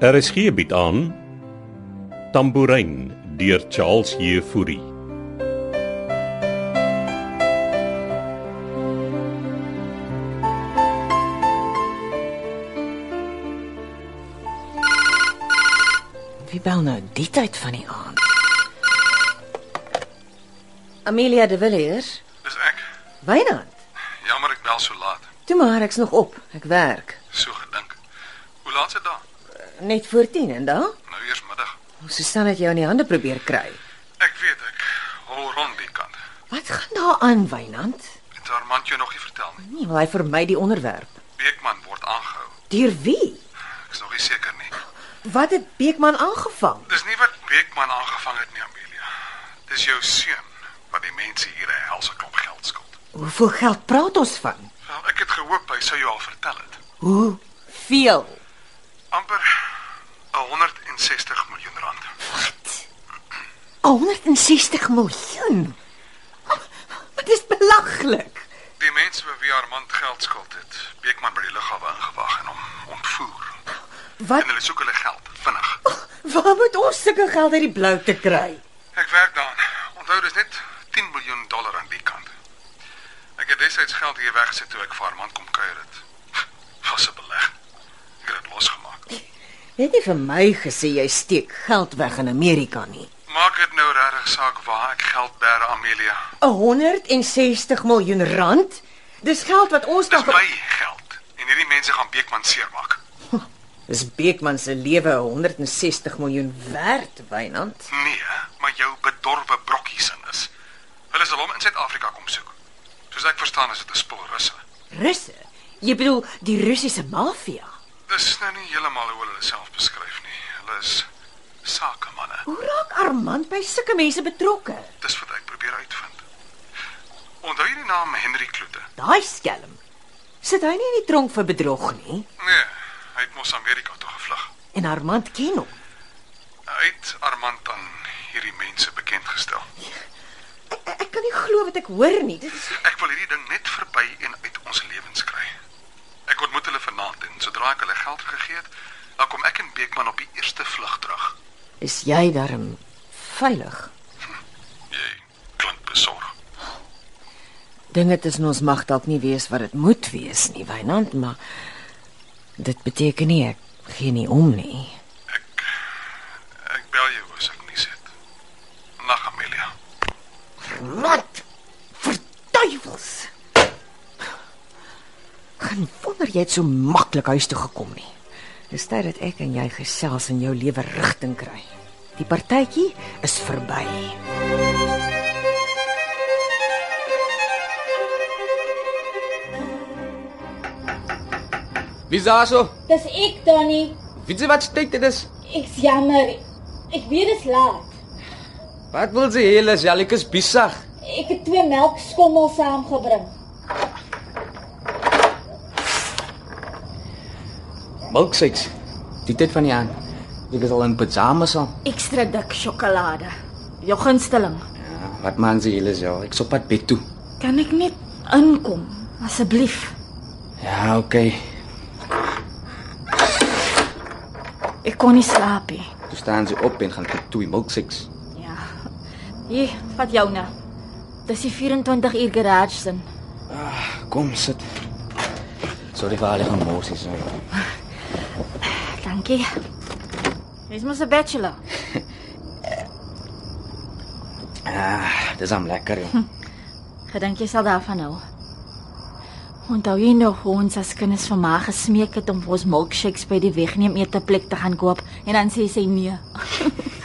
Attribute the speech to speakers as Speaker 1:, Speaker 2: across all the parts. Speaker 1: RSG bied Er aan Tambourin deur Charles Jefouri.
Speaker 2: Wie bel nou die tyd van die aand?
Speaker 3: Amelia de Villiers,
Speaker 4: Dis ek.
Speaker 3: Wynand.
Speaker 4: Jammer ek bel so laat.
Speaker 3: Toe maar ek's nog op. Ek werk.
Speaker 4: So gedink. Hoe laat is dit dan?
Speaker 3: Net voor 10 en dan?
Speaker 4: Nou eers middag.
Speaker 3: Ons Susan het jou in die hande probeer kry.
Speaker 4: Ek weet ek hol rond die kant.
Speaker 3: Wat gaan daar aan, Wynand?
Speaker 4: Het haar man jou nog nie vertel nie.
Speaker 3: Nee, wel hy vermy die onderwerp.
Speaker 4: Beekman word aangehou.
Speaker 3: Deur wie?
Speaker 4: Ek's nog nie seker nie.
Speaker 3: Wat het Beekman aangevang?
Speaker 4: Dis nie wat Beekman aangevang het nie, Amelia. Dis jou seun wat die mense hier 'n helse klomp geld skuld.
Speaker 3: Hoeveel geld praat ons van?
Speaker 4: Wel, ek het gehoop hy sou jou al vertel het.
Speaker 3: Hoe veel?
Speaker 4: Amper 'n 160 miljoen rand.
Speaker 3: Wat? 160 miljoen. Wat is belaglik.
Speaker 4: Die mense vir wie haar man geld skuld het, Beekman by die lughawe ingewag en hom ontvoer.
Speaker 3: Wat
Speaker 4: En hulle soek hulle geld vinnig.
Speaker 3: waar moet ons sulke geld uit die blou te kry?
Speaker 4: Ek werk daaraan. Onthou dis net 10 miljoen dollar aan die kant. Ek het destyds geld hier weggesit toe ek vir Armand kom kuier het. Was 'n beleg. Ek het dit losgemaak.
Speaker 3: Jy het nie vir my gesê jy steek geld weg in Amerika nie.
Speaker 4: Maak dit nou regtig saak waar ek geld bær, Amelia.
Speaker 3: 160 miljoen rand? Dis geld wat ons
Speaker 4: Dis my geld. En hierdie mense gaan Beekman seermaak.
Speaker 3: Is Beekman se lewe 160 miljoen werd, Wynand?
Speaker 4: Nee, maar jou bedorwe brokkies in is. Hulle sal hom in Suid-Afrika kom soek. Soos ek verstaan is dit 'n spul russe.
Speaker 3: Russe? Jy bedoel die Russiese maffia?
Speaker 4: Dis nou nie heeltemal hoe hulle self beskryf nie. Hulle is sakemanne.
Speaker 3: Hoe raak Armand by sulke mense betrokke?
Speaker 4: Dis wat ek probeer uitvind. Onthou jy die naam Henry Kloete?
Speaker 3: Daai skelm. Sit hy nie in die tronk vir bedrog nie?
Speaker 4: Nee, hy het mos Amerika toe gevlug.
Speaker 3: En Armand ken hom.
Speaker 4: Hy het Armand aan hierdie mense bekend gestel.
Speaker 3: Ek, ek kan nie glo wat ek hoor nie. Dit is
Speaker 4: Ek wil hierdie ding net verby en uit ons lewens kry. Ek ontmoet hulle vanaand en sodra ek hulle geld gegee het, dan kom ek en Beekman op die eerste vlug terug.
Speaker 3: Is jy darm veilig?
Speaker 4: Jy klink besorg.
Speaker 3: Dinge tussen ons mag dalk nie wees wat dit moet wees nie, Wynand, maar dit beteken nie ek gee nie om nie.
Speaker 4: Ek ek bel jou as ek nie sit. Nag Amelia.
Speaker 3: Wat? Verduivels. Geen wonder jy het so maklik huis toe gekom nie. Dis tyd dat ek en jy gesels en jou lewe rigting kry. Die partytjie is verby.
Speaker 5: Wie's daar so?
Speaker 6: Dis ek, Donnie.
Speaker 5: Weet jy wat se tyd dit is?
Speaker 6: Ek's jammer. Ek weet dit is laat.
Speaker 5: Wat wil sy hê, Lis? Jalik is besig.
Speaker 6: Ek het twee melkskommel saamgebring.
Speaker 5: Milkseks. Die tyd van die aand. Ek is al in pyjamas al.
Speaker 6: Ekstra dik sjokolade. Jou gunsteling.
Speaker 5: Ja, wat maak sy, Lis? Ja, ek sop pad bed toe.
Speaker 6: Kan ek net inkom asseblief?
Speaker 5: Ja, okay.
Speaker 6: Ek kon nie slaap nie.
Speaker 5: Toe staan sy op en gaan kyk toe die milkseks.
Speaker 6: Ja. Hier, vat jou nou. Dis die 24 uur garage sin.
Speaker 5: Kom sit. Sorry vir al die gemosies.
Speaker 6: Dankie. Jy's mos 'n bachelor.
Speaker 5: Ah, dis am lekker. joh.
Speaker 6: Gedink jy sal daarvan hou. Onthou jy nog hoe ons as kinders vir ma gesmeek het om vir ons milkshakes by die wegneem eteplek te gaan koop en dan sê sy nee.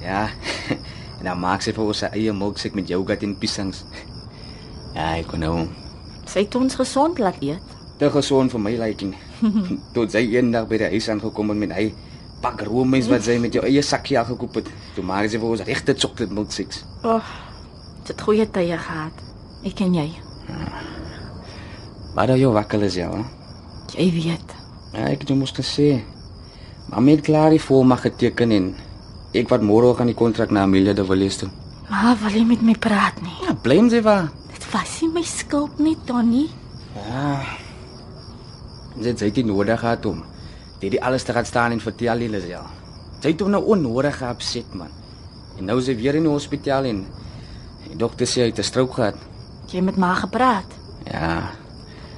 Speaker 5: ja. En dan maak sy vir ons sy eie milkshake met yoghurt en piesangs. Ja, ek kon nou
Speaker 6: Sy het ons gesond laat eet.
Speaker 5: te gesond vir my lyking. Tot sy eendag by die huis aangekom het met hy pak roomys wat sy met jou eie sakkie al gekoop het. Toe maak sy vir ons regte chocolate milkshakes.
Speaker 6: Ag, oh, dit het goeie tye gehad. Ek en jy.
Speaker 5: Maar daai jou wakkel is ja. hè?
Speaker 6: Jy weet.
Speaker 5: Ja, ek het jou mos gesê. Mamy het klaar die volmag geteken en ek wat môre gaan die kontrak na Amelia de Villiers toe.
Speaker 6: Ma Ah, wil nie met my praat nie.
Speaker 5: Ja, blame sy vir.
Speaker 6: Dit was nie my skuld nie, Donnie.
Speaker 5: Ja. Sy het sy het nie nodig gehad om Dit die alles te gaan staan en vertel hulle self. Sy het hom nou onnodig geupset man. En nou is hy weer in die hospitaal en die dokter sê hy het 'n strook gehad.
Speaker 6: Jy het met ma gepraat.
Speaker 5: Ja.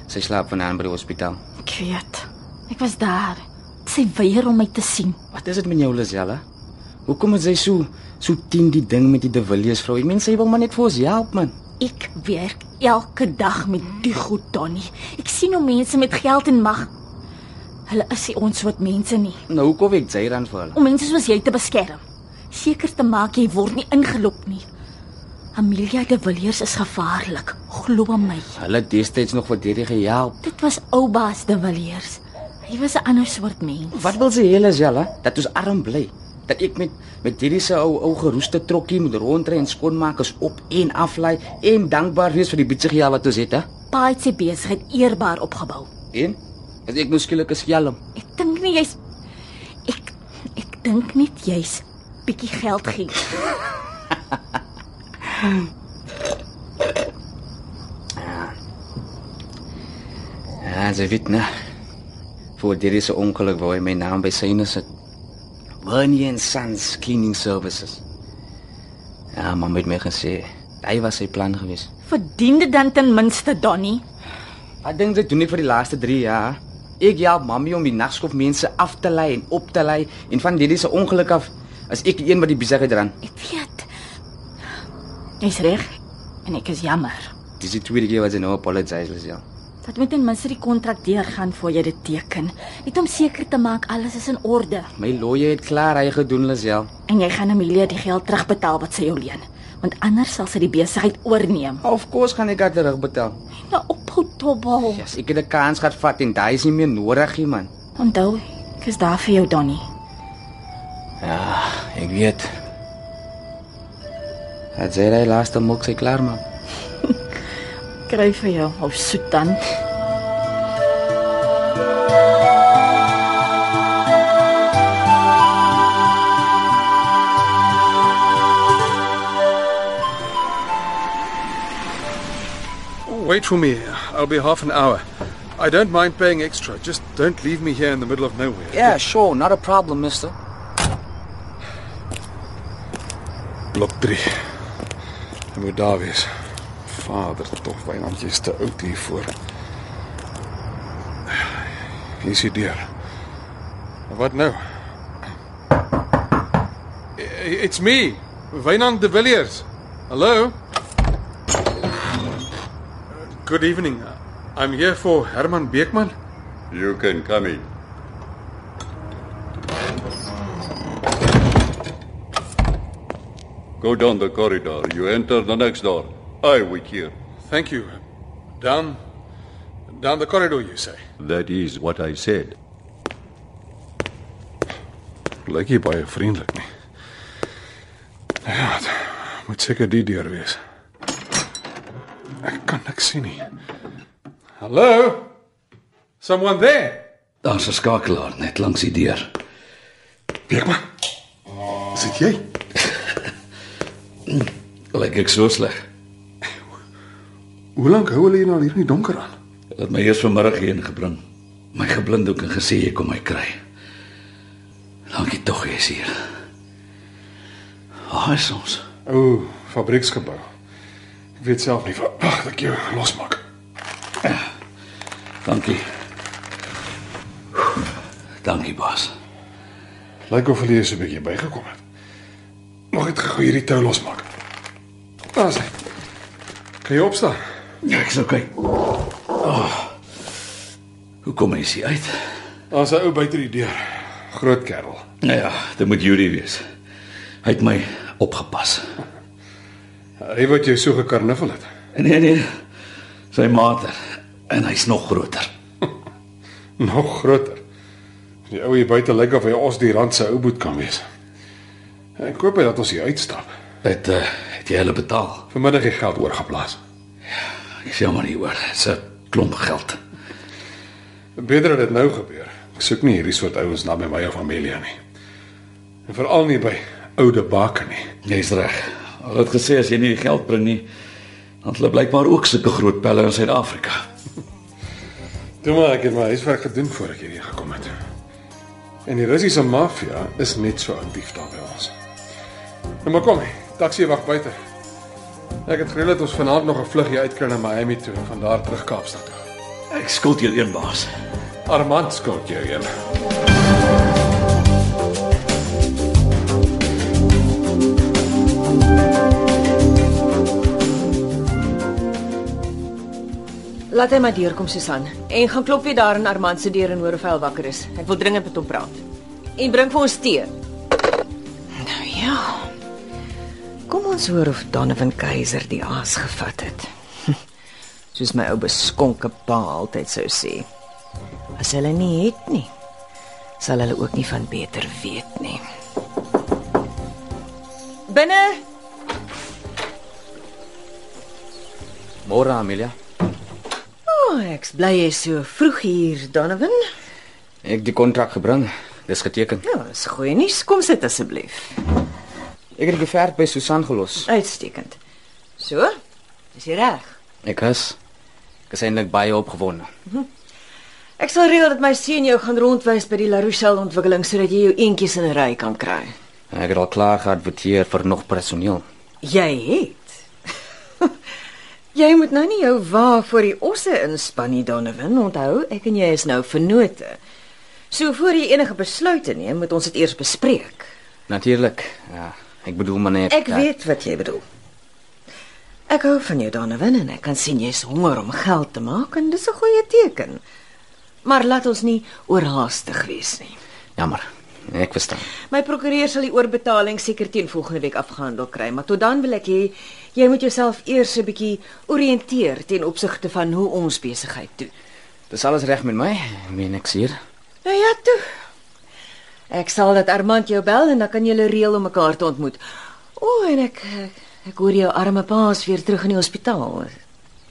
Speaker 5: Sy slaap vanaand by die hospitaal.
Speaker 6: Ek weet. Ek was daar. Sy weier om my te sien.
Speaker 5: Wat is dit met jou Lisella? Hoekom is jy so so teen die ding met die De Villiers vrou? Ek meen sy wil maar net vir ons help man.
Speaker 6: Ek werk elke dag met die goed, Donnie. Ek sien hoe mense met geld en mag. Hulle is nie ons soort mense nie.
Speaker 5: Nou hoekom weet jy dan vir hulle?
Speaker 6: Om mense soos jy te beskerm. Seker te maak jy word nie ingelop nie. Amelia de Villiers is gevaarlik, glo my.
Speaker 5: Hulle het destyds nog vir hierdie gehelp.
Speaker 6: Dit was oubaas de Villiers. Hy was 'n ander soort mens.
Speaker 5: Wat wil sy hê Lisella? Dat ons arm bly. Dat ek met met hierdie se ou ou geroeste trokkie moet rondry en skoonmaak is op en aflei en dankbaar wees vir die bietjie geld wat ons het hè.
Speaker 6: Pa het sy besigheid eerbaar opgebou.
Speaker 5: En as ek moeskielik is skelm.
Speaker 6: Ek dink nie jy's ek ek dink net jy's bietjie geld gee.
Speaker 5: Ja, sy weet nou. Voor hierdie se ongeluk wou hy my naam by syne sit. Bernie and Sons Cleaning Services. Ja, man het my gesê, hy was sy plan geweest.
Speaker 6: Verdien dit dan ten minste, Donnie?
Speaker 5: Wat dink jy doen nie vir die laaste 3 jaar? Ek help mammie om die nagskof mense af te lei en op te lei en van hierdie se ongeluk af as ek die een wat die besigheid ran.
Speaker 6: Ek weet. Jy's reg en ek is jammer.
Speaker 5: Dis die tweede keer wat sy nou apologize is ja.
Speaker 6: Dat moet ten minste die kontrak deurgaan voor jy dit teken. Net om seker te maak alles is in orde
Speaker 5: My lawyer het klaar hy gedoen Lisel.
Speaker 6: en jy gaan Amelia die geld terugbetaal wat sy jou leen, want anders sal sy die besigheid oorneem.
Speaker 5: Of course gaan ek haar terugbetaal.
Speaker 6: Nou ophou dobbel.
Speaker 5: Ja, yes, ek het 'n kans gehad vat en daai is nie meer nodig nie man.
Speaker 6: Onthou, ek is daar vir jou, Donnie.
Speaker 5: Ja, ek weet. Het sy daai laaste mok sy klaar maak?
Speaker 6: Kry vir jou of soet dan.
Speaker 4: Wait for me. I'll be half an hour. I don't mind paying extra. Just don't leave me here in the middle of nowhere.
Speaker 5: Yeah, sure, not a problem, mister.
Speaker 4: Blok 3. Hy moet daar wees. Vader, tog wynandjie is te oud hiervoor. Hier is die deur. En Wat nou? I- It's me, Wynand de Villiers. Hello. Good evening. I'm here for Herman Beekman.
Speaker 1: You can come in. Go down the corridor. You enter the next door. I wait here.
Speaker 4: Thank you. Down down the corridor you say.
Speaker 1: That is what I said.
Speaker 4: Lyk jy baie vriendelik nie. Ja, het moet seker die deur wees. Ek kan niks sien nie. Hallo? Someone there?
Speaker 7: Daar's 'n skakelaar net langs die deur.
Speaker 4: Beekman. Is dit jy?
Speaker 7: Lyk ek so sleg.
Speaker 4: Hoe lank hou hulle hier nou hier in die donker aan?
Speaker 7: Hulle het my eers vanmiddag heen gebring. My geblinddoek en gesê jy kom my kry. Dankie tog jy's hier. Haai soms.
Speaker 4: O, fabrieksgebou. Ek weet self nie wa- wag ek jou losmaak.
Speaker 7: Ja. Dankie. Dankie baas.
Speaker 4: Lyk of hulle hier so 'n bietjie bygekom het. Nog net gou hierdie tou losmaak. Daar's hy. Kan jy opstaan?
Speaker 7: Ja, ek sou kyk. Oh. Hoe kom jy hier uit?
Speaker 4: Daar's 'n ou buite die deur. Groot kerel.
Speaker 7: Nou ja, dit moet Yuri wees. Hy het my opgepas.
Speaker 4: Hy wat jou so gekarniffel het.
Speaker 7: Nee nee. Sy mater en hy's nog groter.
Speaker 4: Nog groter. Die ou hier buite lyk of hy ons die rand se ou boet kan wees. Ek koop hy dat ons hier uitstap.
Speaker 7: Het uh, het jy hulle betaal?
Speaker 4: Vanmiddag het geld oorgeplaas.
Speaker 7: Ek sê maar nie hoor, dit's 'n klomp geld.
Speaker 4: Beter dat dit nou gebeur. Ek soek nie hierdie soort ouens naby my of Amelia nie. En veral nie by oude bakke nie.
Speaker 7: Jy's reg. Hulle het gesê as jy nie die geld bring nie, dan het hulle blykbaar ook sulke groot pelle in Suid-Afrika.
Speaker 4: Toe maar ek het my huiswerk gedoen voor ek hier gekom het. En die Russiese maffia is net so aktief daar by ons. Nou maar kom, taxi wag buite. Ek het gereël dat ons vanaand nog 'n vluggie uitkry na Miami toe en van daar terug Kaapstad toe.
Speaker 7: Ek skuld jou een baas.
Speaker 4: Armand skuld jou een.
Speaker 3: Laat hy maar deurkom Susan en gaan klop weer daar in Armand se deur en hoor of hy al wakker is. Ek wil dringend met hom praat. En bring vir ons tee. Nou ja. Kom ons hoor of Donovan Keiser die aas gevat het. Soos my ou beskonke pa altyd sou sê. As hulle nie het nie, sal hulle ook nie van beter weet nie. Binne,
Speaker 5: Môre Amelia.
Speaker 3: o, oh, ek's bly jy is so vroeg hier, Donovan.
Speaker 5: Ek die kontrak gebring. Dis geteken.
Speaker 3: Ja, dis goeie nuus. Kom sit asseblief.
Speaker 5: Ek het die geverd by Susan gelos.
Speaker 3: Uitstekend. So, is jy reg?
Speaker 5: Ek is ek is eintlik baie opgewonde.
Speaker 3: Ek sal reël dat my seun jou gaan rondwys by die La Rochelle ontwikkeling sodat jy jou eentjies in 'n ry kan kry.
Speaker 5: Ek het al klaar geadverteer vir nog personeel.
Speaker 3: Jy het. jy moet nou nie jou wa voor die osse inspan nie, Donovan. Onthou, ek en jy is nou vennote. So voor jy enige besluite neem, moet ons dit eers bespreek.
Speaker 5: Natuurlik. Ja, ek bedoel meneer.
Speaker 3: Ek weet wat jy bedoel. Ek hou van jou, Donovan, en ek kan sien jy's honger om geld te maak en dis 'n goeie teken. Maar laat ons nie oorhaastig wees nie.
Speaker 5: Jammer. Ek verstaan.
Speaker 3: My prokureur sal die oorbetaling seker teen volgende week afgehandel kry, maar tot dan wil ek hê jy moet jouself eers 'n bietjie orienteer ten opsigte van hoe ons besigheid doen.
Speaker 5: Dis alles reg met my? Meen ek seer?
Speaker 3: Nou ja, toe. Ek sal dat Armand jou bel en dan kan julle reël om mekaar te ontmoet. O, oh, en ek ek- ek hoor jou arme pa's weer terug in die hospitaal.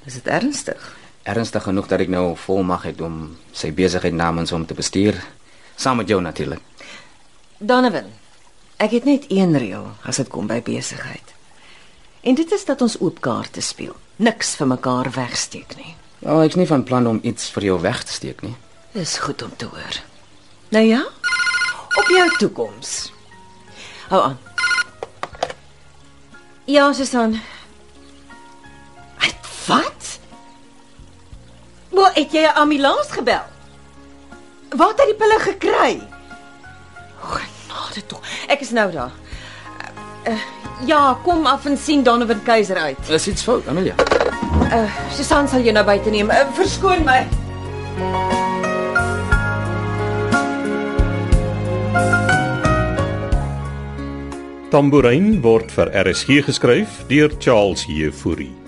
Speaker 3: Is dit ernstig?
Speaker 5: Ernstig genoeg dat ek nou volmag het om sy besigheid namens hom te bestuur, saam met jou natuurlik.
Speaker 3: Donovan, ek het net een reël as dit kom by besigheid. En dit is dat ons oop kaarte speel. Niks vir mekaar wegsteek nie.
Speaker 5: Nou, ek's nie van plan om iets vir jou weg te steek nie.
Speaker 3: Dis goed om te hoor. Nou ja, op jou toekoms. Hou aan. Ja, Susan. Wat? Wat? Waar het jy 'n ambulans gebel? Waar het hy die pille gekry? Genade tog. Ek is nou daar. Eh, eh, ja, kom af en sien Donovan Keiser uit.
Speaker 5: Is iets fout, Amelia?
Speaker 3: Eh, Susan sal jou nou buite neem. Eh, verskoon my.
Speaker 8: Tambourin word vir RSG geskryf deur Charles Jefouri.